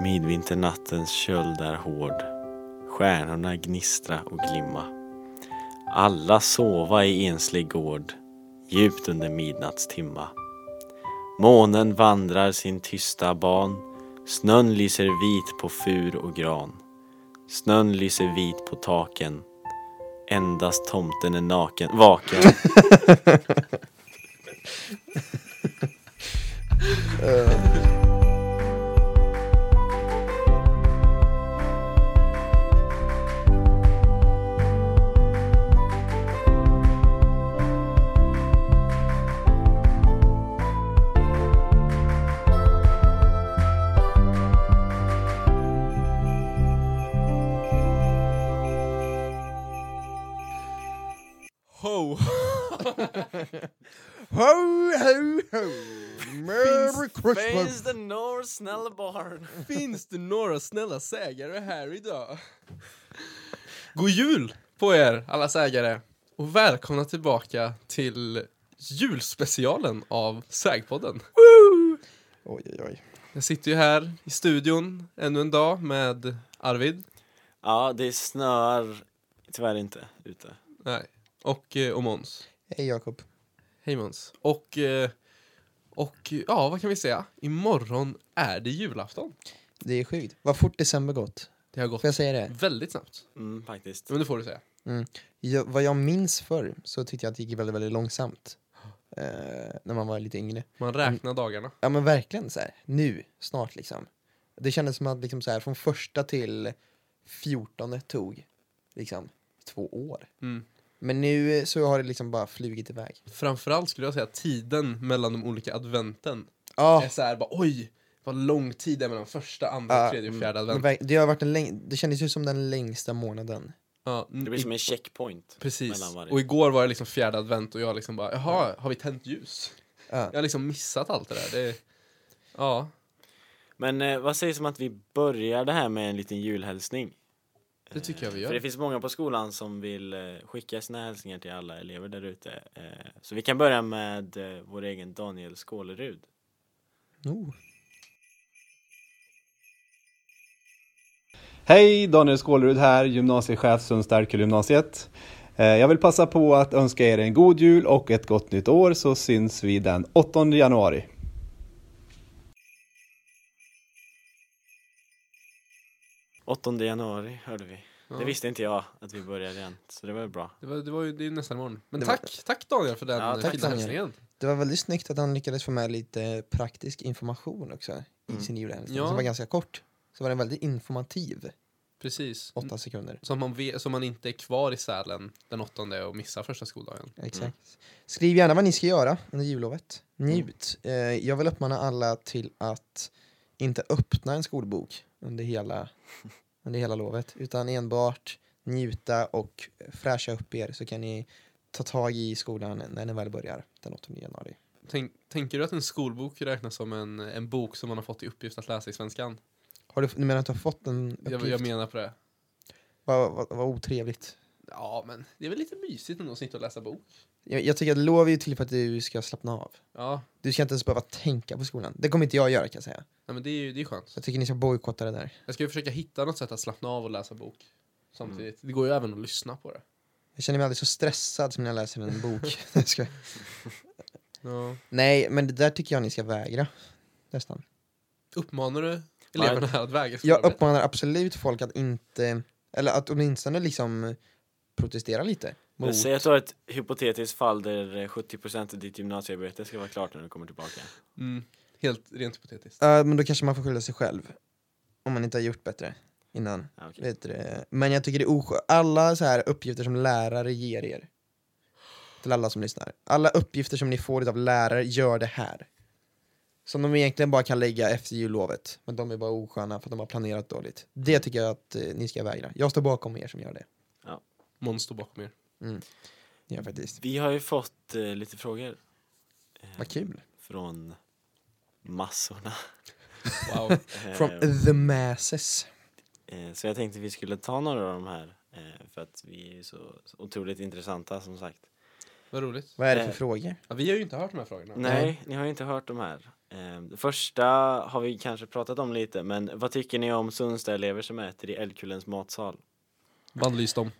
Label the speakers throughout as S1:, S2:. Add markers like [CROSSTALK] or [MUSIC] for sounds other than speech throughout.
S1: Midvinternattens köld är hård. Stjärnorna gnistra och glimma. Alla sova i enslig gård, djupt under midnattstimma. Månen vandrar sin tysta ban. Snön lyser vit på fur och gran. Snön lyser vit på taken. Endast tomten är naken, [LAUGHS] vaken.
S2: Ho!
S3: Ho, ho, ho! Merry Christmas!
S1: Praise the North Snellbarn.
S2: [LAUGHS] Finns det några snälla sägare här idag? God jul på er, alla sägare! Och välkomna tillbaka till julspecialen av Sägpodden.
S3: Oj, oj, oj.
S2: Jag sitter ju här i studion ännu en dag med Arvid.
S1: Ja, det snöar tyvärr inte ute.
S2: Nej. Och, eh, och Måns.
S3: Hej Jakob.
S2: Hej Måns. Och, eh, och ja, vad kan vi säga? Imorgon är det julafton.
S3: Det är sjukt. Vad fort december gått.
S2: Det har gått
S3: Får jag säga det?
S2: väldigt snabbt.
S1: Mm, faktiskt.
S2: Men det får du säga.
S3: Jag, vad jag minns förr så tyckte jag att det gick väldigt, väldigt långsamt. Eh, när man var lite yngre.
S2: Man räknar dagarna.
S3: Ja men verkligen så här. nu, snart liksom. Det kändes som att liksom så här, från första till fjortonde tog liksom två år.
S2: Mm.
S3: Men nu så har det liksom bara flugit iväg.
S2: Framförallt skulle jag säga att tiden mellan de olika adventen
S3: Ja,
S2: är så här bara oj, vad lång tid det är mellan första, andra,
S3: Ja,
S2: tredje och fjärde
S3: men
S1: Mm.
S2: advent.
S3: verk- det har varit en läng- det kändes ju som den längsta månaden.
S2: Ja,
S1: Det blir som en checkpoint.
S2: Precis.
S1: mellan varje.
S2: Och igår var det liksom fjärde advent och jag liksom bara jaha, har vi tänt ljus?
S3: Ja.
S2: Jag har liksom missat allt det där. Det, ja,
S1: Men eh, vad sägs om att vi börjar det här med en liten julhälsning?
S2: det tycker jag vi
S1: Eh, För det
S2: gör.
S1: finns många på skolan som vill eh, skicka sina hälsningar till alla elever där ute. Eh, så vi kan börja med eh, vår egen Daniel Skålerud.
S3: Oh.
S4: Hej, Daniel Skålerud här, gymnasiechef Sundstärkelgymnasiet. Eh, Jag vill passa på att önska er en god jul och ett gott nytt år så syns vi den 8 januari.
S1: Åttonde januari hörde vi.
S2: Ja.
S1: Det visste inte jag att vi började än, så det var ju bra.
S2: Det var, det var ju det är nästan imorgon. Men
S3: Det var-
S2: tack, tack Daniel för den
S1: Ja,
S2: ja,
S1: tack,
S2: fina
S3: Daniel.
S2: hälsningen.
S3: Det var väldigt snyggt att han lyckades få med lite praktisk information också
S1: Mm.
S3: i sin julhälsning
S2: Ja.
S3: som var ganska kort. Så var den väldigt informativ,
S2: Precis.
S3: åtta sekunder.
S2: Så man, vet, så man inte är kvar i Sälen den åttonde och missar första skoldagen.
S3: Exakt. Skriv gärna vad ni ska göra under jullovet. Njut. Eh, jag vill uppmana alla till att inte öppna en skolbok under hela, under hela lovet utan enbart njuta och fräscha upp er så kan ni ta tag i skolan när den väl börjar den 8 januari.
S2: Tänk, tänker du att en skolbok räknas som en, en bok som man har fått i uppgift att läsa i svenskan?
S3: Har du, du menar att du har fått en uppgift?
S2: Jag, jag menar på det.
S3: Vad vad- vad otrevligt.
S2: Ja, men det är väl lite mysigt ändå att sitta och läsa bok?
S3: Jag, jag tycker att lov är ju till för att du ska slappna av.
S2: Ja,
S3: Du ska inte ens behöva tänka på skolan. Det kommer inte jag göra kan jag säga.
S2: nej, men det är ju det är skönt.
S3: Så jag tycker ni ska bojkotta det där.
S2: Jag ska ju försöka hitta något sätt att slappna av och läsa bok samtidigt. Det går ju även att lyssna på det.
S3: Jag känner mig aldrig så stressad som när jag läser en bok. Jag ska-
S2: Ja.
S3: Nej, men det där tycker jag ni ska vägra. Nästan.
S2: Uppmanar du eleverna att väga
S3: Jag
S2: skolarbetet?
S3: uppmanar absolut folk att inte, eller att åtminstone liksom protestera lite.
S1: Men
S3: Mot.
S1: Säg att du har ett hypotetiskt fall där eh, 70% av ditt gymnasiearbete ska vara klart när du kommer tillbaka.
S2: Mm, helt rent hypotetiskt.
S3: Ja, men då kanske man får skylla sig själv. Om man inte har gjort bättre innan.
S1: Ja, okej.
S3: Vet du det? Men jag tycker det är oskönt. Alla så här uppgifter som lärare ger er. Till alla som lyssnar. Alla uppgifter som ni får av lärare, gör det här. Som de egentligen bara kan lägga efter jullovet. Men de är bara osköna för att de har planerat dåligt. Det tycker jag att eh, ni ska vägra. Jag står bakom er som gör det.
S2: Måns står bakom er.
S3: Ja, faktiskt.
S1: Vi har ju fått eh, lite frågor
S3: Vad kul.
S1: från massorna.
S2: Wow.
S1: Eh,
S3: From the masses.
S1: Eh, Så jag tänkte vi skulle ta några av de här eh, för att vi är ju så så otroligt intressanta som sagt.
S2: Vad roligt.
S3: Vad är det för
S1: Eh.
S3: frågor?
S2: Ja, vi har ju inte hört de här frågorna.
S1: Nej, ni har ju inte hört de här. Eh, Det första har vi kanske pratat om lite, men vad tycker ni om Sundstaelever som äter i Älvkullens matsal?
S2: Bannlyst dem.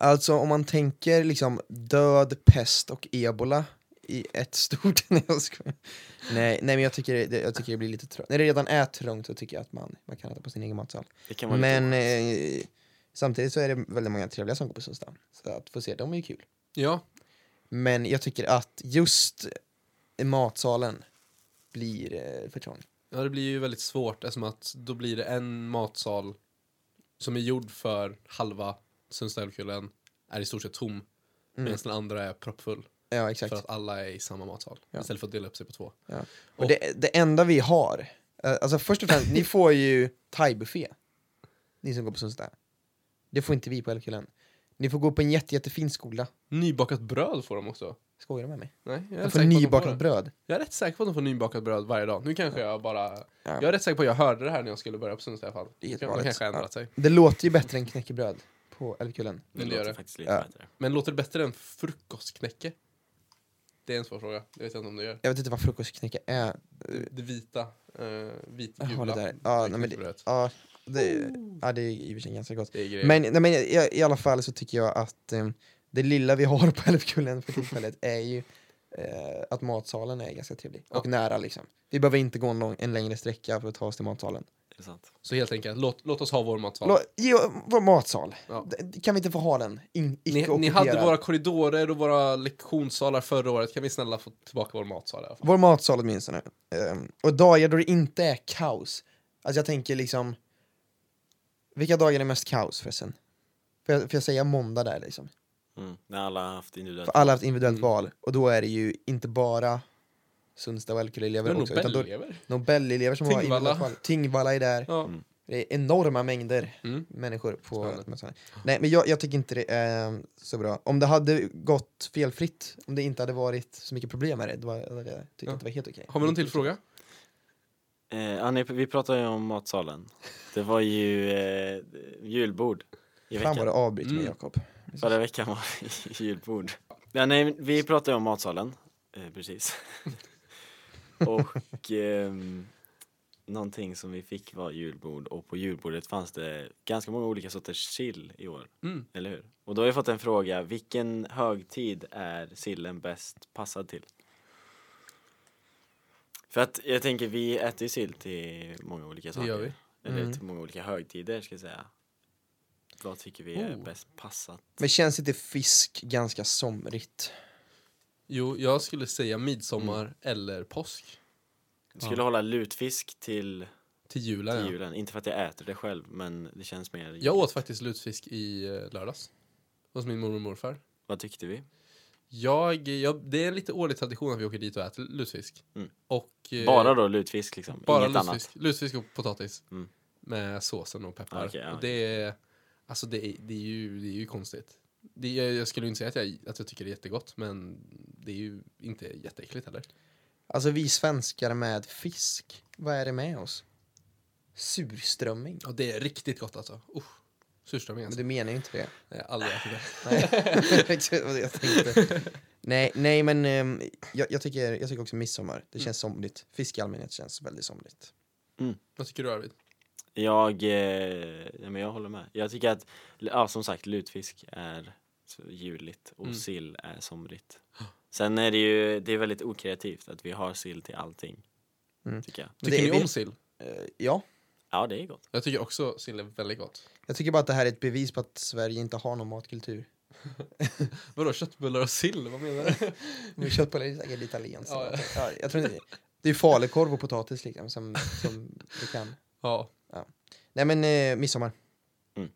S3: Alltså om man tänker liksom död, pest och ebola i ett stort... [LAUGHS] nej, jag skojar. nej, nej men jag tycker, det, jag tycker det blir lite trångt. När det redan är trångt så tycker jag att man, man kan äta på sin egen matsal.
S1: Det kan vara
S3: Men
S1: lite...
S3: eh, samtidigt så är det väldigt många trevliga som går på Sundsdamm. Så att få se dem är ju kul.
S2: Ja,
S3: Men jag tycker att just matsalen blir eh, för trång.
S2: ja, det blir ju väldigt svårt eftersom att då blir det en matsal som är gjord för halva Sundstaälvkullen är i stort sett tom. Medan den andra är proppfull.
S3: Ja,
S2: För
S3: Mm. exakt.
S2: att alla är i samma matsal.
S3: Ja.
S2: Istället för att dela upp sig på två.
S3: Ja. Och det, det enda vi har, eh, alltså först och [LAUGHS] främst, ni får ju thaibuffé. Ni som går på Sundsdamm. Det får inte vi på Älvkullen. Ni får gå på en jätte, jättefin skola.
S2: Nybakat bröd får de också.
S3: Skojar du med mig?
S2: Nej, jag är,
S3: De
S2: rätt
S3: får
S2: säker på att de får
S3: nybakat
S2: det.
S3: bröd.
S2: jag är rätt säker på att de får nybakat bröd varje dag. Nu kanske jag bara... Jag är
S3: Ja.
S2: rätt säker på att jag hörde det här när jag skulle börja på Sundsvall i alla fall.
S3: Det är helt
S2: De
S3: galet.
S2: kanske har ändrat
S3: Ja.
S2: sig.
S3: Det låter ju bättre än knäckebröd på Älvkullen.
S1: Det
S2: det gör
S1: låter
S2: det.
S1: faktiskt lite
S3: Ja.
S1: bättre.
S2: Men låter det bättre än frukostknäcke? Det är en svår fråga. Det vet jag inte om det gör.
S3: Jag vet inte vad frukostknäcke är.
S2: Det vita, eh,
S3: Jag har
S2: vitgula
S3: det där. Ja, nej, men det,
S2: knäckebrödet.
S3: ja, det, ja, det är i och för sig ganska gott.
S2: Det är grejer.
S3: Men, nej, men i, i alla fall så tycker jag att eh, det lilla vi har [LAUGHS] på Älvkullen för tillfället är ju eh, att matsalen är ganska trevlig och
S2: Ja.
S3: nära liksom. Vi behöver inte gå en, lång, en längre sträcka för att ta oss till matsalen.
S1: Det är sant.
S2: Så helt enkelt, låt, låt oss ha vår matsal.
S3: Lå, ge vår matsal.
S2: Ja.
S3: D- d- Kan vi inte få ha den? In,
S2: Ni,
S3: icke
S2: ni hade
S3: ockuperad.
S2: våra korridorer och våra lektionssalar förra året. Kan vi snälla få tillbaka vår matsal i alla fall?
S3: Vår matsal åtminstone. Ehm, och dagar då det inte är kaos. Alltså jag tänker liksom... Vilka dagar är mest kaos förresten? Får jag, får jag säga måndag där liksom?
S1: Mm. När alla har haft individuellt.
S3: För alla har haft individuellt
S2: Mm.
S3: val och då är det ju inte bara Sundsta och
S2: Det är
S3: Älvkulle-elever också. Utan då,
S2: Nobelelever.
S3: Nobelelever som har
S2: Tingvalla.
S3: individuellt val. Tingvalla är där.
S2: Ja.
S1: Mm.
S3: Det är enorma mängder
S2: Mm.
S3: människor på
S2: Spännande.
S3: mässan. Nej men jag, jag tycker inte det är så bra. Om det hade gått felfritt, om det inte hade varit så mycket problem med det, då hade jag tyckt
S2: Ja.
S3: att det var helt okej.
S2: Har vi någon till fråga?
S1: Eh, ja, ni, vi pratade ju om matsalen. Det var ju eh, julbord i
S3: Fan
S1: veckan.
S3: vad du avbryter mig
S2: Mm.
S3: Jakob.
S1: Förra veckan var det julbord. Ja, nej, vi pratade ju om matsalen, eh,
S2: [LAUGHS]
S1: precis. och ehm, någonting som vi fick var julbord och på julbordet fanns det ganska många olika sorters sill i år,
S2: Mm.
S1: eller hur? Och då har jag fått en fråga, vilken högtid är sillen bäst passad till? För att jag tänker, vi äter ju sill till många olika
S2: Det
S1: saker.
S2: gör vi.
S1: Eller
S3: Mm.
S1: till många olika högtider, ska jag säga. Vad tycker vi är
S2: Oh.
S1: bäst passat?
S3: Men känns inte fisk ganska somrigt?
S2: Jo, jag skulle säga midsommar eller påsk.
S1: Jag skulle hålla lutfisk till,
S2: Till julen.
S1: till
S2: ja.
S1: julen. Inte för att jag äter det själv, men det känns mer...
S2: Jag åt faktiskt lutfisk i eh, lördags. Hos min mormor och morfar.
S1: Vad tyckte vi?
S2: Eh, Jag, jag, det är en lite årlig tradition att vi åker dit och äter lutfisk.
S1: Mm.
S2: Och, eh,
S1: Bara då lutfisk liksom?
S2: bara
S1: Inget
S2: lutfisk,
S1: annat?
S2: lutfisk och potatis.
S1: Mm.
S2: Med såsen och peppar.
S1: Ah, okej, ja,
S2: och det, är, alltså det, är, det, är ju, det är ju konstigt. Det, jag, jag skulle ju inte säga att jag, att jag tycker det är jättegott, men det är ju inte jätteäckligt heller.
S3: Alltså vi svenskar med fisk, vad är det med oss? Surströmming?
S2: Och det är riktigt gott alltså. Usch. Surströmming
S3: Men
S2: alltså.
S3: du menar ju inte det.
S2: Jag har aldrig ätit det.
S3: Nej, [LAUGHS] exakt vad jag tänkte. Nej, nej men ehm, jag, jag, tycker, jag tycker också midsommar. Det känns
S2: Mm.
S3: somrigt. Fisk i allmänhet känns väldigt somrigt.
S2: Vad tycker du Arvid?
S1: Jag, eh, ja, men jag håller med. Jag tycker att, ja, som sagt, lutfisk är så juligt och
S2: Mm.
S1: sill är somrigt. Sen är det ju, det är väldigt okreativt att vi har sill till allting.
S3: Mm.
S1: Tycker jag.
S3: Det
S2: Tycker
S3: är
S2: ni
S3: vi-
S2: om sill?
S3: Eh, ja,
S1: Ja, det är gott.
S2: Jag tycker också sill är väldigt gott.
S3: jag tycker bara att det här är ett bevis på att Sverige inte har någon matkultur.
S2: Vadå köttbullar och sill? Vad menar
S1: [LAUGHS]
S2: du?
S3: Men Köttbullar är säkert italienskt.
S2: Ja,
S3: Ja, jag tror inte, det är falukorv och potatis liksom som, som vi kan.
S2: ja.
S3: Nej men eh, midsommar. [LAUGHS]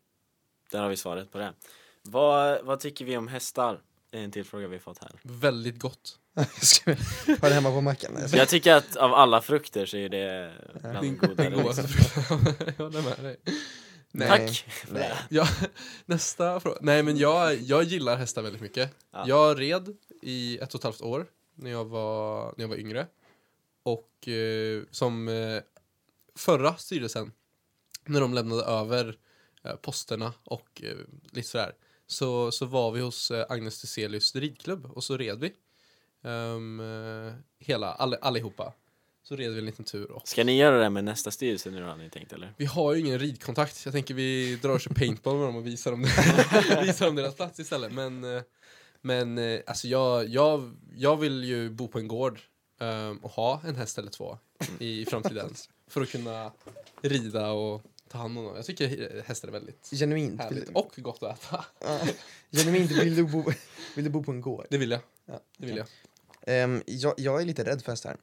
S1: Där har vi svaret på det. Vad, vad tycker vi om hästar? Det är en till fråga vi fått här.
S2: Väldigt gott.
S3: Ska vi ha det hemma på mackan? Nej, så-
S1: Jag tycker att av alla frukter så är det bland de
S2: Det
S1: godare.
S2: går
S1: Liksom.
S2: alltså. [LAUGHS] Jag håller med dig. Nej.
S1: Tack!
S3: Nej.
S2: [LAUGHS] Ja, nästa fråga. Nej, men jag, jag gillar hästar väldigt mycket.
S1: Ja.
S2: Jag red i ett och ett halvt år när jag var, när jag var yngre. Och eh, som eh, förra styrelsen, när de lämnade över eh, posterna och eh, lite sådär, så, så var vi hos eh, Agnes Thyselius ridklubb och så red vi. Ehm, eh, hela, all, allihopa. Så red vi en liten tur. Och
S1: Ska ni göra det med nästa styrelse nu har ni tänkt eller?
S2: vi har ju ingen ridkontakt. Jag tänker vi drar och kör paintball med dem och visar dem, [LAUGHS] visar dem deras plats istället. Men, eh, men eh, alltså jag, jag, jag vill ju bo på en gård ehm, och ha en häst eller två i framtiden. för att kunna rida och ta hand om dem. Jag tycker hästar är väldigt
S3: Genuint.
S2: härligt
S3: Vill,
S2: och gott att äta.
S3: Ja. genuint vill, du bo, vill du bo på en gård?
S2: Det vill jag.
S3: Ja,
S2: Det vill jag.
S3: Ehm, jag, jag är lite rädd för hästar.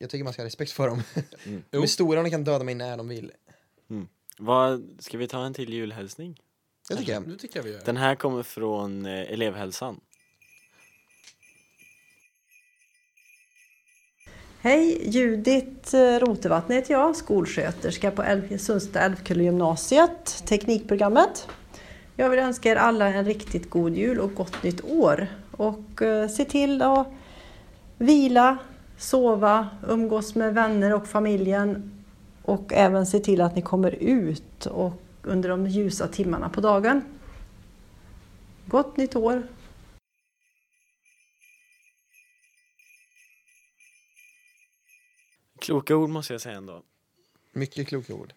S3: Jag tycker man ska ha respekt för dem. De är [LAUGHS]
S2: Jo.
S3: stora och de kan döda mig när de vill.
S1: Vad, ska vi ta en till julhälsning?
S3: Det tycker jag.
S2: Nu tycker jag vi gör det.
S1: Den här kommer från eh, elevhälsan.
S5: Hej, Judith eh, Rotevatne heter jag, skolsköterska på Älv- Sundsta Älvkulla gymnasiet, teknikprogrammet. Jag vill önska er alla en riktigt god jul och gott nytt år. Och eh, se till att vila, sova, umgås med vänner och familjen och även se till att ni kommer ut och under de ljusa timmarna på dagen. Gott nytt år!
S1: Kloka ord måste jag säga ändå.
S3: Mycket kloka ord.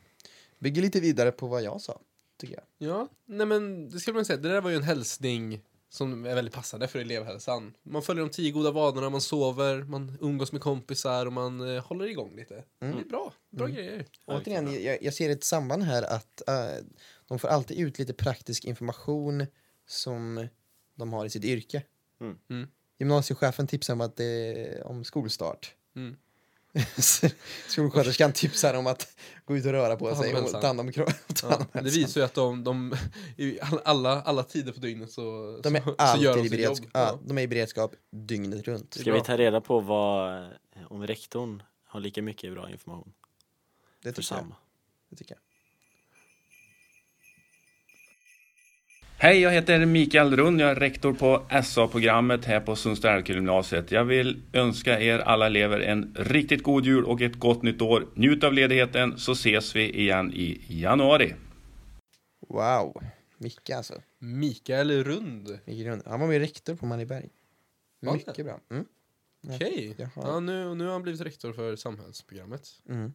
S3: Bygger lite vidare på vad jag sa, tycker jag.
S2: Ja, nej men det skulle man säga. Det där var ju en hälsning som är väldigt passande för elevhälsan. Man följer de tio goda vanorna, man sover, man umgås med kompisar och man eh, håller igång lite. Det är bra. Bra grejer.
S1: bra.
S3: Mm. Återigen, jag, jag ser ett samband här att eh, de får alltid ut lite praktisk information som de har i sitt yrke.
S1: Mm.
S2: Mm.
S3: Gymnasiechefen tipsar om, att det är om skolstart.
S2: Mm.
S3: [LAUGHS] Skolsköterskan tipsar om att gå ut och röra på
S2: Ta hand
S3: sig
S2: om
S3: och
S2: hälsan.
S3: [LAUGHS] ta hand om kroppen.
S2: Ja, det visar ju att de, de [LAUGHS] i all- alla, alla tider på dygnet så,
S3: De är
S2: så, så gör
S3: alltid
S2: de
S3: i
S2: sitt
S3: beredskap,
S2: jobb.
S3: ja, de är i beredskap dygnet runt.
S1: Ska
S2: bra.
S1: vi ta reda på vad, eh, om rektorn har lika mycket bra information
S3: Det
S1: för
S3: tycker jag.
S1: samma?
S3: Det tycker jag.
S6: Hej, jag heter Mikael Rund. Jag är rektor på SA-programmet här på Sundstergymnasiet. Jag vill önska er alla elever en riktigt god jul och ett gott nytt år. Njut av ledigheten så ses vi igen i januari.
S3: Wow, Micke alltså.
S2: Mikael Rund.
S3: Micke Grund. Han var med rektor på Marieberg.
S2: Var det?
S3: Mycket bra. Mm.
S2: Okej.
S3: Jaha.
S2: Ja, nu, nu har han blivit rektor för samhällsprogrammet.
S3: Mm.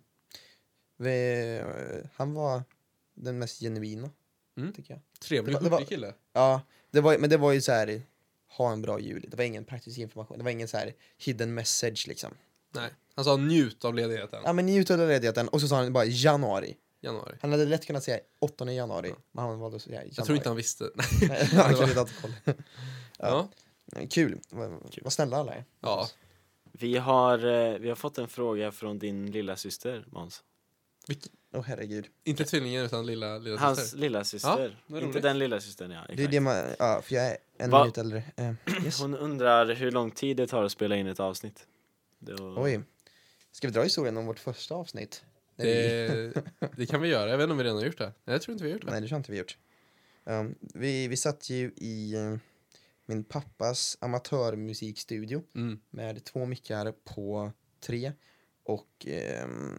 S3: Vi, han var den mest genuina,
S2: Mm.
S3: tycker jag.
S2: Trevlig,
S3: Det var- det var-
S2: hurtig kille.
S3: Ja, det var, men det var ju så här, ha en bra jul. Det var ingen praktisk information. Det var ingen så här hidden message liksom.
S2: Nej, han sa njut av ledigheten.
S3: Ja, men njut av ledigheten. Och så sa han bara januari.
S2: Januari.
S3: Han hade lätt kunnat säga 8 januari, men han valde att säga januari.
S2: Jag tror inte han visste. [LAUGHS] Nej.
S3: Nej, han kunde inte alltid kolla.
S2: Ja.
S3: Kul. Vad- Vad snälla alla är.
S2: ja.
S1: Vi har, eh, vi har fått en fråga från din lilla syster Måns.
S3: Åh herregud.
S2: Inte tvillingen utan lilla, lilla
S1: Hans
S2: syster.
S1: lilla syster.
S2: vad
S1: Inte
S2: roligt.
S1: den lilla systern ja.
S3: Det är
S1: Exakt.
S3: det man, ja, för jag är en
S1: Va?
S3: minut äldre. Eh, yes.
S1: Hon undrar hur lång tid det tar att spela in ett avsnitt. Det var-
S3: Oj. Ska vi dra historien om vårt första avsnitt? När vi-
S2: Det, det kan vi göra. Jag vet inte om vi redan har gjort det. Nej, jag tror inte vi har gjort det.
S3: Nej, det har inte vi gjort. Ehm, vi, vi satt ju i eh, min pappas amatörmusikstudio
S2: Mm.
S3: med två mickar på tre och ehm,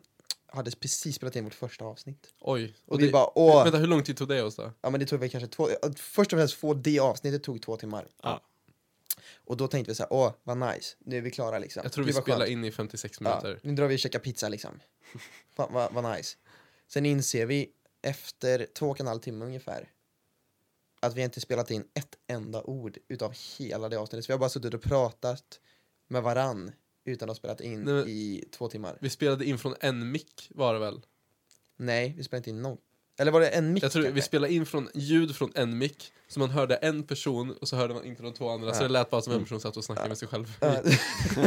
S3: hade precis spelat in vårt första avsnitt.
S2: Oj.
S3: Och, vi
S2: det,
S3: bara åh,
S2: Vänta, hur lång tid tog det oss då?
S3: ja men det tog väl kanske två, ja, först och främst få det avsnittet tog två timmar.
S1: Ja.
S3: Och då tänkte vi så här, åh vad nice, nu är vi klara liksom.
S2: Jag tror
S3: Gud,
S2: vi
S3: vad
S2: spelade
S3: skönt.
S2: in i 56
S3: Ja,
S2: minuter.
S3: nu drar vi och käkar
S2: [LAUGHS]
S3: pizza liksom. Fan vad, vad nice. Sen inser vi efter två och en halv timme ungefär att vi inte spelat in ett enda ord utav hela det avsnittet. Så vi har bara suttit och pratat med varann utan att ha spelat in
S2: Nej, men-
S3: i två timmar.
S2: Vi spelade in från en mick var det väl?
S3: Nej, vi spelade inte in någon. Eller var det en mick?
S2: Jag tror vi
S3: kanske?
S2: spelade in från ljud från en mick. Så man hörde en person och så hörde man inte de två andra. Så
S3: Ja. Mm.
S2: det lät bara som en person satt och snackade med sig själv.
S3: Ja. [LAUGHS]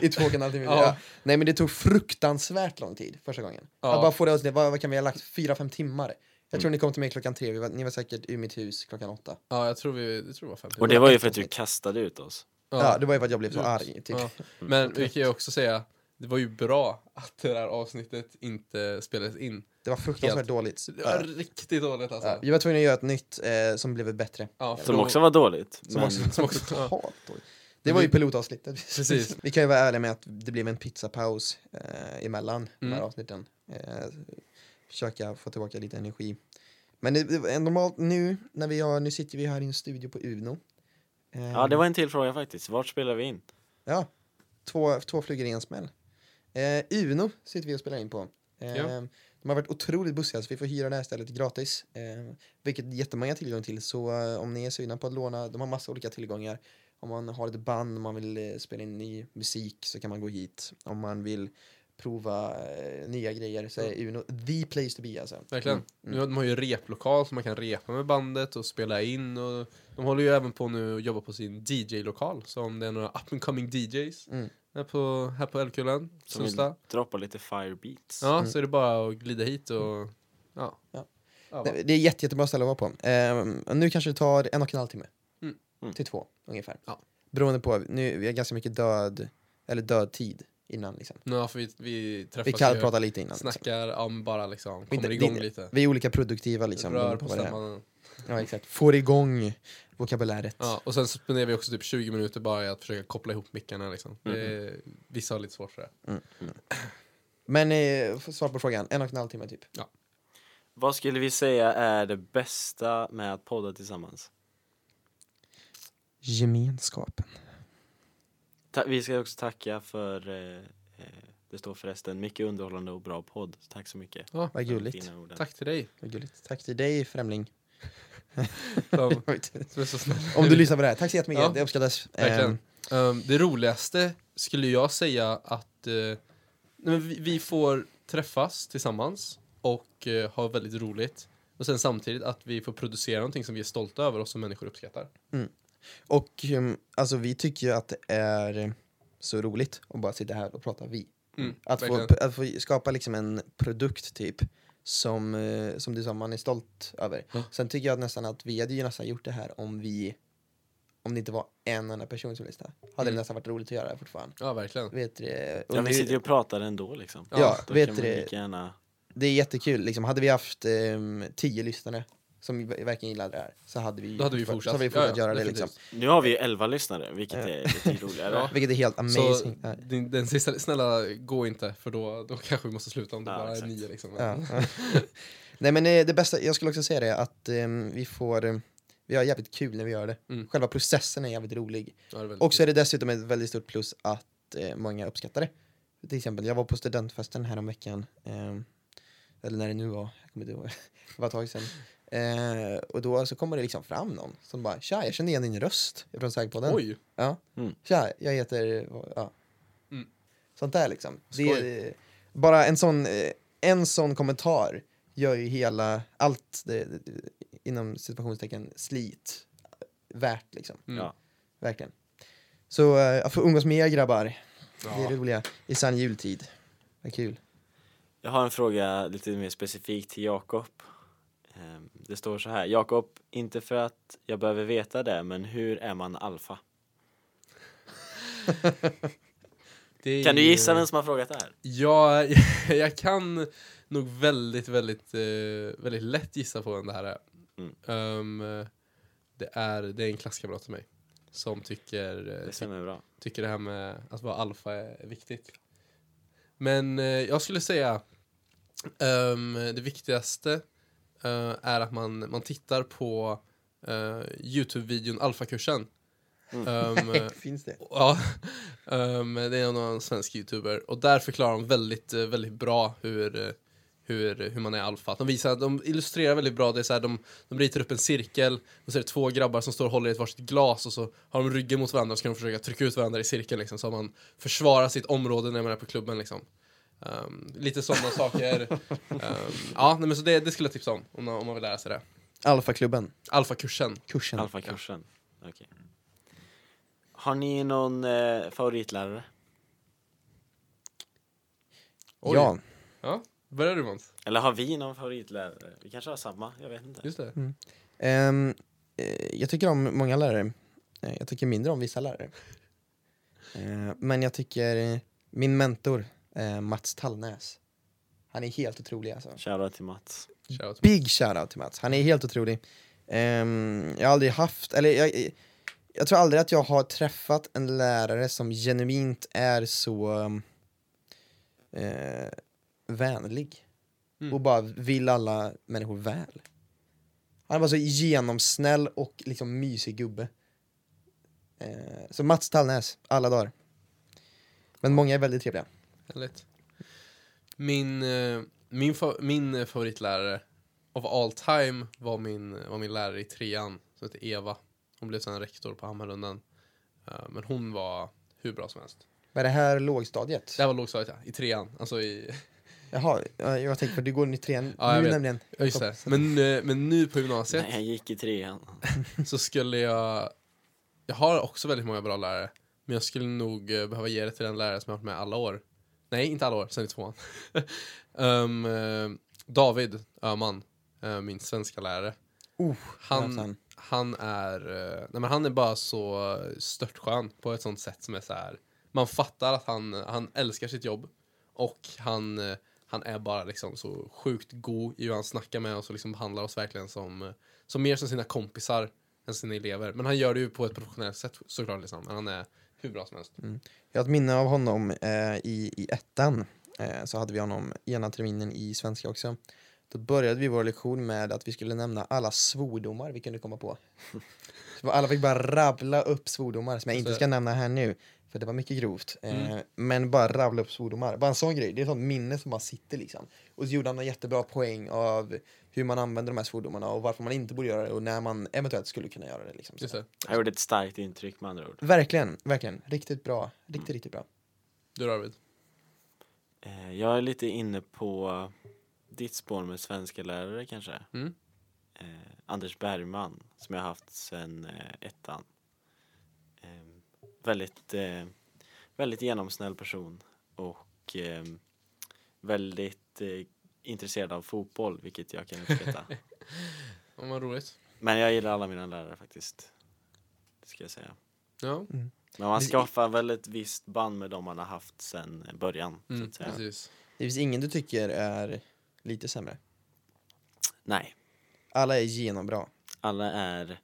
S3: I två och en halv timme.
S2: Ja.
S3: Ja. Nej men det tog fruktansvärt lång tid första gången.
S2: Ja. Mm.
S3: Att bara få det avsnittet, vad, vad kan vi ha lagt? Fyra, fem timmar. Jag tror ni kom till mig klockan tre, vi var, ni var säkert i mitt hus klockan åtta.
S2: Ja, jag tror vi, det tror jag var 50
S1: Och det var ju för att du kastade ut oss.
S3: Ja. det var ju för att jag blev så
S2: Ut.
S3: arg. Typ.
S2: Ja. Men vi kan ju också säga, det var ju bra att det där avsnittet inte spelades in.
S3: Det var fruktansvärt
S2: Helt.
S3: dåligt.
S2: Det var
S3: Ja.
S2: riktigt dåligt alltså.
S3: Ja. Jag var tvungen att göra ett nytt eh, som blev bättre.
S2: Ja,
S1: Som
S2: då-
S1: också var dåligt.
S3: Som
S1: men-
S3: också,
S2: som
S3: som
S2: också-
S3: också totalt dåligt. Det var ju pilotavsnittet.
S2: Precis.
S3: [LAUGHS] Vi kan ju vara ärliga med att det blev en pizzapaus eh, emellan de här
S2: Mm.
S3: avsnitten. Eh, försöka få tillbaka lite energi. Men det, det, var- normalt nu, när vi har, nu sitter vi här i en studio på Uno. Eh,
S1: Ja, det var en till fråga faktiskt. Vart spelar vi in?
S3: Ja, två, två flugor i en smäll. Eh, Uno sitter vi och spelar in på. Eh,
S2: Ja.
S3: De har varit otroligt bussiga så vi får hyra det här stället gratis. Eh, vilket jättemånga har tillgång till. Så eh, om ni är sugna på att låna, de har massa olika tillgångar. Om man har ett band, om man vill eh, spela in ny musik så kan man gå hit. Om man vill prova eh, nya grejer så är Uno the place to be alltså.
S2: Verkligen.
S3: Mm,
S2: Nu har de har ju replokal som man kan repa med bandet och spela in. Och de håller ju även på nu och jobbar på sin DJ-lokal. Så om det är några up and coming DJs
S3: Mm.
S2: här på, här på Älvkullen,
S1: Som vill
S2: Sundsta,
S1: droppa lite firebeats.
S2: ja, så är det bara att glida hit och ja.
S3: Mm. Ja.
S2: Ja, va.
S3: Nej, Det är jätte, jättebra ställe att vara på. Eh, nu kanske det tar en och en halv timme.
S2: Mm.
S1: Mm.
S3: Till två ungefär.
S2: Ja.
S3: Beroende på, nu vi har ganska mycket död, eller död tid innan liksom.
S2: Ja, för vi, vi träffas
S3: Vi
S2: ju,
S3: kan prata lite innan. Liksom.
S2: snackar om bara liksom,
S3: Vi
S2: kommer
S3: inte-
S2: igång
S3: det-
S2: lite.
S3: Vi är olika produktiva liksom.
S2: Rör
S3: beroende
S2: på
S3: vad det är.
S2: stämman.
S3: Ja, exakt. Får igång vokabuläret.
S2: Ja, och sen spenderar vi också typ 20 minuter bara i att försöka koppla ihop mickarna liksom.
S3: Mm,
S2: Det är, vissa har lite svårt för det.
S3: Men eh, för- svar på frågan, en och en halv timme typ.
S1: Vad skulle vi säga är det bästa med att podda tillsammans?
S3: Gemenskapen.
S1: Ta- vi ska också tacka för, eh, eh, det står förresten, mycket underhållande och bra podd. Tack så mycket.
S2: Ja,
S3: Vad gulligt.
S1: Dina orden.
S2: tack till dig
S3: Vad gulligt. Tack till
S2: [LAUGHS]
S3: dig främling.
S2: som,
S3: Jag vet inte.
S2: som är så snäll.
S3: Om du lyssnar på det här, tack så jättemycket.
S2: Ja.
S3: Det uppskattas.
S2: Verkligen.
S3: Ehm,
S2: Ehm, det roligaste skulle jag säga att eh, nej, men vi, vi får träffas tillsammans och eh, ha väldigt roligt. Och sen samtidigt att vi får producera någonting som vi är stolta över och som människor uppskattar.
S3: Och ehm, alltså, vi tycker ju att det är så roligt att bara sitta här och prata vi.
S2: Mm,
S3: Att få,
S2: verkligen.
S3: att få skapa liksom en produkt typ som, eh, som du sa, man är stolt över.
S2: Ja.
S3: Sen tycker jag nästan att vi hade ju nästan gjort det här om vi om det inte var en annan person som lyssnade.
S2: Mm.
S3: Hade det nästan varit roligt att göra det fortfarande.
S2: Ja, verkligen.
S3: Vet du, det? och
S1: Ja,
S3: nu-
S1: vi sitter ju och pratar ändå liksom.
S2: Ja,
S3: ja
S1: Då
S3: vet
S1: kan
S3: du
S1: man
S3: det?
S1: lika gärna...
S3: Det är jättekul. Liksom, hade vi haft ehm, tio lyssnare som ver- verkligen gillade det här så hade vi,
S2: Då hade vi
S3: fortfar-
S2: fortsatt.
S3: Så hade vi
S2: Ja, ja,
S3: fortsatt göra det. Liksom.
S2: definitivt.
S1: Nu har vi ju elva lyssnare, vilket är lite roligare.
S3: [LAUGHS]
S2: Ja.
S3: Vilket är helt
S2: Så
S3: amazing. Ja.
S2: den, den sista, snälla gå inte för då, då kanske vi måste sluta om det
S1: Ja,
S2: bara är
S1: exakt.
S2: nio liksom.
S3: Ja. [LAUGHS] Nej men eh, det bästa, jag skulle också säga det att ehm, vi får, eh, vi har jävligt kul när vi gör det.
S2: Mm.
S3: Själva processen är jävligt rolig.
S2: Ja, det är väldigt
S3: Och så
S2: kul.
S3: är det dessutom ett väldigt stort plus att eh, många uppskattar det. Till exempel, jag var på studentfesten häromveckan, ehm, eller när det nu var, jag kommer inte ihåg, [LAUGHS] det var ett tag sedan. Eh, och då så kommer det liksom fram någon som bara “Tja, jag kände igen din röst från Sägpodden”.
S2: Oj,
S3: Ja.
S1: Mm.
S3: Tja, jag heter... Ja.
S2: Mm.
S3: Sånt där liksom. Det
S2: Skoj.
S3: är, bara en sån, eh, en sån kommentar gör ju hela, allt det, det- inom situationstecken slit värt liksom.
S2: Mm.
S1: Ja.
S3: Verkligen. Så eh, att få umgås med er grabbar, det är
S2: ja.
S3: det roliga, i sann jultid. Vad kul.
S1: Jag har en fråga lite mer specifikt till Jakob. Ehm, Det står så här. Jakob, inte för att jag behöver veta det, men hur är man alfa?
S2: det är
S1: Kan du
S2: ju-
S1: gissa vem som har frågat det här?
S2: Ja, [LAUGHS] jag kan nog väldigt, väldigt, eh, väldigt lätt gissa på vem det här är.
S1: Mm.
S2: Ehm, det, är det är en klasskamrat till mig som tycker, eh,
S1: Det
S2: ty,
S1: stämmer bra.
S2: tycker det här med att vara alfa är viktigt. Men eh, jag skulle säga ehm, det viktigaste eh, är att man, man tittar på eh, Youtube-videon Alfakursen.
S1: Mm. [LAUGHS]
S2: Ehm,
S3: Finns det?
S2: Ja, [LAUGHS] ehm, det är någon svensk youtuber och där förklarar de väldigt, eh, väldigt bra hur, eh, hur, hur man är alfa. De, visar, de illustrerar väldigt bra, det är så här, de, de ritar upp en cirkel och så är det två grabbar som står och håller i ett varsitt glas och så har de ryggen mot varandra och så kan de försöka trycka ut varandra i cirkeln liksom, så att man försvarar sitt område när man är på klubben liksom. Ehm, lite sådana saker. Ehm, ja, nej, men så det, det skulle jag tipsa om, om man, om man vill lära sig det.
S3: Alfaklubben,
S2: Alfakursen.
S3: kursen.
S1: Alfakursen. Okej. Har ni någon eh, favoritlärare?
S2: Oj.
S3: Ja,
S2: Ja, börjar du Måns?
S1: Eller har vi någon favoritlärare? Vi kanske har samma, jag vet inte.
S2: Just det.
S3: Ehm, eh, jag tycker om många lärare. Eh, jag tycker mindre om vissa lärare. Eh, men jag tycker eh, min mentor, eh, Mats Tallnäs. Han är helt otrolig alltså.
S1: Shoutout till Mats.
S2: Shoutout.
S3: Big shoutout till Mats. Han är helt otrolig. Ehm, jag har aldrig haft, eller jag, jag tror aldrig att jag har träffat en lärare som genuint är så um, eh, vänlig.
S2: Mm.
S3: Och bara vill alla människor väl. Han var så genomsnäll och liksom mysig gubbe. Eh, så Mats Tallnäs, alla dagar. Men många är väldigt trevliga.
S2: Härligt. Min, eh, min, fa- min eh, favoritlärare of all time var min, var min lärare i trean som hette Eva. Hon blev sen rektor på Hammarlundan. Eh, Men hon var hur bra som helst.
S3: Vad är det här lågstadiet?
S2: Det här var lågstadiet, ja. I trean. Alltså i...
S3: Jaha, ja, jag tänkte på det går i trean
S2: Ja, jag
S3: nu
S2: vet.
S3: nämligen.
S2: Ja, just det. Men, eh, men nu på gymnasiet
S1: Nej, jag gick i trean.
S2: [LAUGHS] så skulle jag... Jag har också väldigt många bra lärare. Men jag skulle nog eh, behöva ge det till den lärare som jag har varit med alla år. Nej, inte alla år, sen i tvåan. [LAUGHS] Ehm, eh, David Öhman, eh, min svenska lärare.
S3: Oh,
S2: han,
S3: han.
S2: han. är eh, nej, men han är bara så störtskön på ett sånt sätt som är så här. Man fattar att han, han älskar sitt jobb och han, eh, han är bara liksom så sjukt god i hur han snackar med oss och liksom behandlar oss verkligen som, eh, som mer som sina kompisar än sina elever. Men han gör det ju på ett professionellt sätt såklart liksom. Men han är hur bra som helst.
S3: Jag har ett minne av honom eh, i, i ettan. Eh, så hade vi honom ena terminen i svenska också. Då började vi vår lektion med att vi skulle nämna alla svordomar vi kunde komma på. Så alla fick bara rabbla upp svordomar som jag inte
S2: Så-
S3: ska nämna här nu. För det var mycket grovt. Eh,
S2: Mm.
S3: Men bara rabbla upp svordomar. Bara en sån grej. Det är ett sånt minne som bara sitter liksom. Och så gjorde han en jättebra poäng av hur man använder de här svordomarna och varför man inte borde göra det och när man eventuellt skulle kunna göra det. Liksom. Så.
S2: Just det.
S1: Jag gjorde ett starkt intryck med andra ord.
S3: Verkligen, verkligen. Riktigt bra. Riktigt, riktigt bra.
S2: Du då Arvid?
S1: Eh, Jag är lite inne på ditt spår med svenska lärare kanske.
S2: Mm.
S1: Eh, Anders Bergman, som jag har haft sedan eh, ettan. Eh, väldigt, eh, väldigt genomsnäll person och eh, väldigt eh, intresserad av fotboll, vilket jag kan uppskatta.
S2: Ja, Vad roligt.
S1: Men jag gillar alla mina lärare faktiskt. Det ska jag säga.
S2: Ja,
S3: Mm.
S1: Men man
S3: Det-
S1: skaffar väl ett visst band med dem man har haft sedan början. Så
S2: mm,
S1: att säga.
S2: precis.
S3: Det finns ingen du tycker är lite sämre.
S1: Nej,
S3: Alla är genombra.
S1: alla är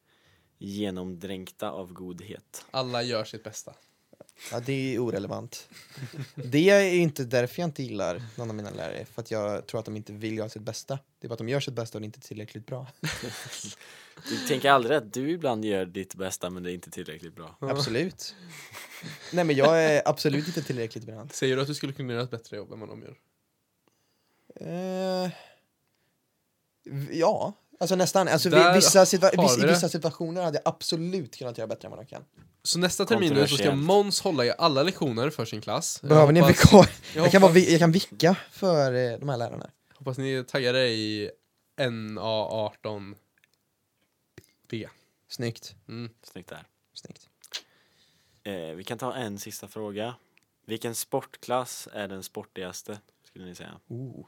S1: genomdränkta av godhet.
S2: Alla gör sitt bästa.
S3: Ja, det är ju orelevant. Det är ju inte därför jag inte gillar någon av mina lärare. För att jag tror att de inte vill göra sitt bästa. Det är bara att de gör sitt bästa och det är inte tillräckligt bra.
S1: Du tänker aldrig att du ibland gör ditt bästa men det är inte tillräckligt bra.
S3: Absolut. Nej men jag är absolut inte tillräckligt bra.
S2: Säger du att du skulle kunna göra ett bättre jobb än vad de gör?
S3: Eh, v- ja, alltså nästan. Alltså, vi,
S2: Där
S3: vissa, situa-
S2: har
S3: viss,
S2: vi
S3: i
S2: det.
S3: vissa situationer hade jag absolut kunnat göra bättre än vad de kan.
S2: Så nästa termin nu så ska
S1: Kontroversiellt.
S2: Måns hålla i alla lektioner för sin klass. Jag
S3: Behöver ni en
S2: hoppas-
S3: vikarie?
S2: Jag,
S3: Jag kan, vara,
S2: hoppas,
S3: vi- jag kan vicka för eh, de här lärarna.
S2: hoppas ni taggar er i NA18B.
S3: Snyggt.
S2: Mm.
S1: Snyggt där.
S3: Snyggt.
S1: Eh, vi kan ta en sista fråga. Vilken sportklass är den sportigaste? Skulle ni säga.
S3: Oh.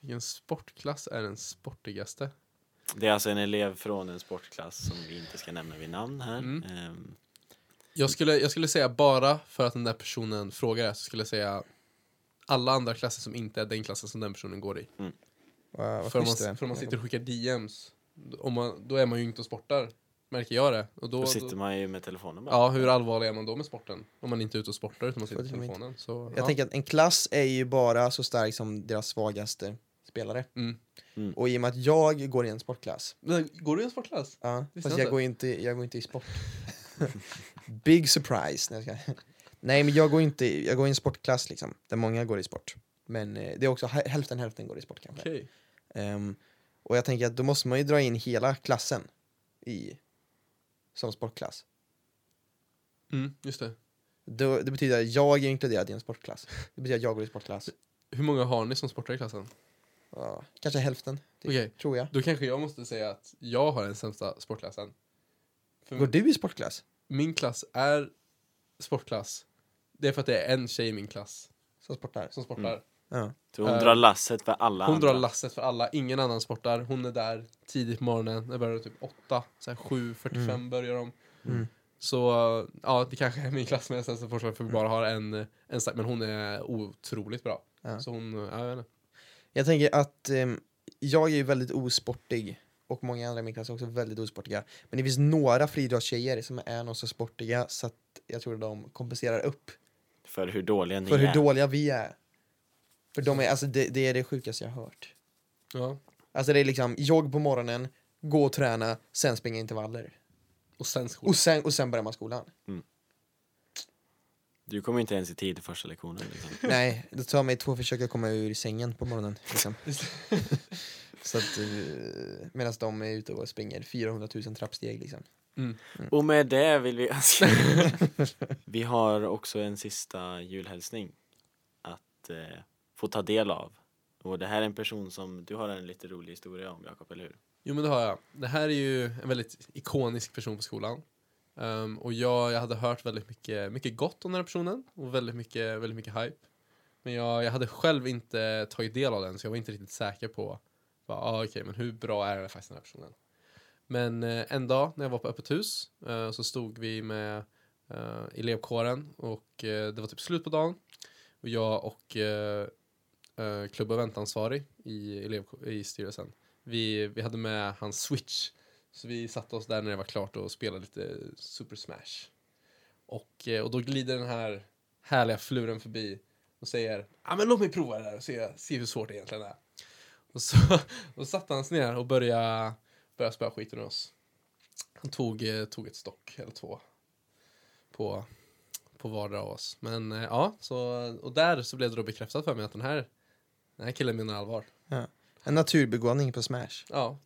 S2: Vilken sportklass är den sportigaste?
S1: Det är alltså en elev från en sportklass som vi inte ska nämna vid namn här.
S2: Mm.
S1: Ehm,
S2: Jag skulle, jag skulle säga bara för att den där personen frågar det så skulle jag säga alla andra klasser som inte är den klassen som den personen går i.
S3: Vad, vad
S2: för om
S3: schysst du
S2: man,
S3: är.
S2: för om man sitter och skickar DMs, om man, då är man ju inte och sportar. Märker jag det. Och då,
S1: då sitter man ju med telefonen bara.
S2: Ja, hur allvarlig är man då med sporten? Om man inte är ute och sportar utan man sitter på
S3: Sportar man inte.
S2: telefonen. Så,
S3: Jag
S2: ja.
S3: tänker att en klass är ju bara så stark som deras svagaste spelare.
S2: Mm.
S1: Mm.
S3: Och i och med att jag går i en sportklass,
S2: Men Går du i en sportklass?
S3: ja,
S2: Visste jag
S3: fast jag
S2: inte.
S3: går, ju inte, jag går inte i sport. [LAUGHS] Big surprise! Nej, jag ska. Nej men jag går, inte, i- jag går i en sportklass liksom, där många går i sport. Men eh, det är också hä- hälften hälften går i sport kanske.
S2: Okej.
S3: Ehm, och jag tänker att då måste man ju dra in hela klassen i, som sportklass.
S2: Mm, just det.
S3: Då, det betyder att jag är inkluderad i en sportklass. Det betyder att jag går i sportklass.
S2: Hur många har ni som sportar i klassen?
S3: Ja, kanske hälften, typ,
S2: Okej.
S3: tror jag.
S2: Då kanske jag måste säga att jag har den sämsta sportklassen. För
S3: Går du i sportklass?
S2: Min klass är sportklass. Det är för att det är en tjej i min klass
S3: Som sportar?
S2: som sportar.
S3: Ja.
S1: Så hon
S2: Eh,
S1: drar lasset för alla
S2: Hon
S1: andra.
S2: drar lasset för alla, ingen annan sportar. Hon är där tidigt på morgonen, det börjar typ 8, så här 7.45 börjar de.
S3: Mm.
S2: Så ja, det kanske är min klass med den sämsta sportklassen för vi bara har en, en stark, men hon är otroligt bra.
S3: Ja.
S2: Så hon, ja, jag vet inte.
S3: Jag tänker att ehm, jag är ju väldigt osportig och många andra i min klass är också väldigt osportiga. Men det finns några friidrottstjejer som är något så sportiga så att jag tror att de kompenserar upp
S1: För hur dåliga ni
S3: för hur
S1: är.
S3: dåliga vi är. För de är, alltså det, det är det sjukaste jag har hört.
S2: Ja.
S3: Alltså det är liksom jogg på morgonen, gå och träna, sen springa intervaller.
S2: Och sen skolan.
S3: Och sen, och sen börjar man skolan.
S1: Du kommer inte ens i tid till första lektionen. Liksom.
S3: Nej, det tar mig två försök att komma ur sängen på morgonen. [LAUGHS] Liksom. Så att, eh, medan de är ute och springer 400 000 trappsteg liksom.
S1: Och med det vill vi önska... vi har också en sista julhälsning att eh, få ta del av. Och det här är en person som du har en lite rolig historia om, Jakob, eller hur?
S2: Jo men det har jag. Det här är ju en väldigt ikonisk person på skolan. Ehm, och jag, jag hade hört väldigt mycket, mycket gott om den här personen och väldigt mycket, väldigt mycket hype. Men jag, jag hade själv inte tagit del av den så jag var inte riktigt säker på bara, ah, okej, men hur bra är det faktiskt den här personen. Men eh, en dag när jag var på öppet hus eh, så stod vi med eh, elevkåren och eh, det var typ slut på dagen. Och jag och eh, eh, klubb och eventansvarig i, elev, i styrelsen vi, vi hade med hans switch. Så vi satte oss där när det var klart och spelade lite Super Smash. Och, eh, och då glider den här härliga fluren förbi och säger ah, men låt mig prova det där och se, se hur svårt det egentligen är. Och så [LAUGHS] och satte han sig ner och började, började spöa skiten ur oss. Han tog, eh, tog ett stock eller två på, på vardera av oss. Men eh, ja, så, och där så blev det då bekräftat för mig att den här, den här killen menar allvar.
S3: En naturbegåvning på Smash.
S2: Ja,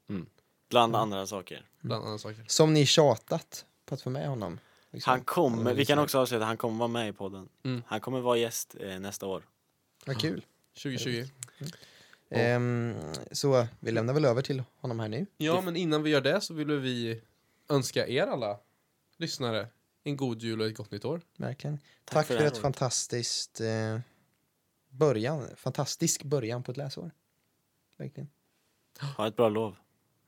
S1: Bland andra saker.
S2: bland annat saker.
S3: Som ni tjatat på att få med honom. liksom.
S1: Han kommer, vi kan också avsluta, han kommer vara med i podden.
S2: Mm.
S1: Han kommer vara gäst eh, nästa år.
S3: Vad kul.
S2: 2020.
S3: Ehm, så vi lämnar väl över till honom här nu.
S2: Ja, men innan vi gör det så vill vi önska er alla lyssnare en god jul och ett gott nytt år.
S3: Verkligen. Tack,
S1: för
S3: för,
S1: det här
S3: ett
S1: året.
S3: fantastiskt eh, början, fantastisk början på ett läsår. Verkligen.
S1: Ha ett bra lov.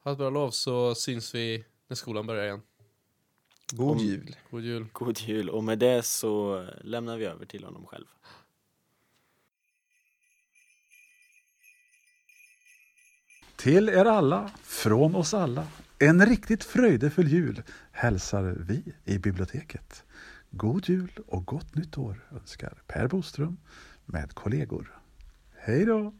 S2: Ha ett bra lov så syns vi när skolan börjar igen.
S3: God
S1: Om-
S3: jul.
S2: God jul.
S1: God jul. Och med det så eh, lämnar vi över till honom själv.
S7: Till er alla, från oss alla, en riktigt fröjdefull jul hälsar vi i biblioteket. God jul och gott nytt år önskar Per Boström med kollegor. Hej då!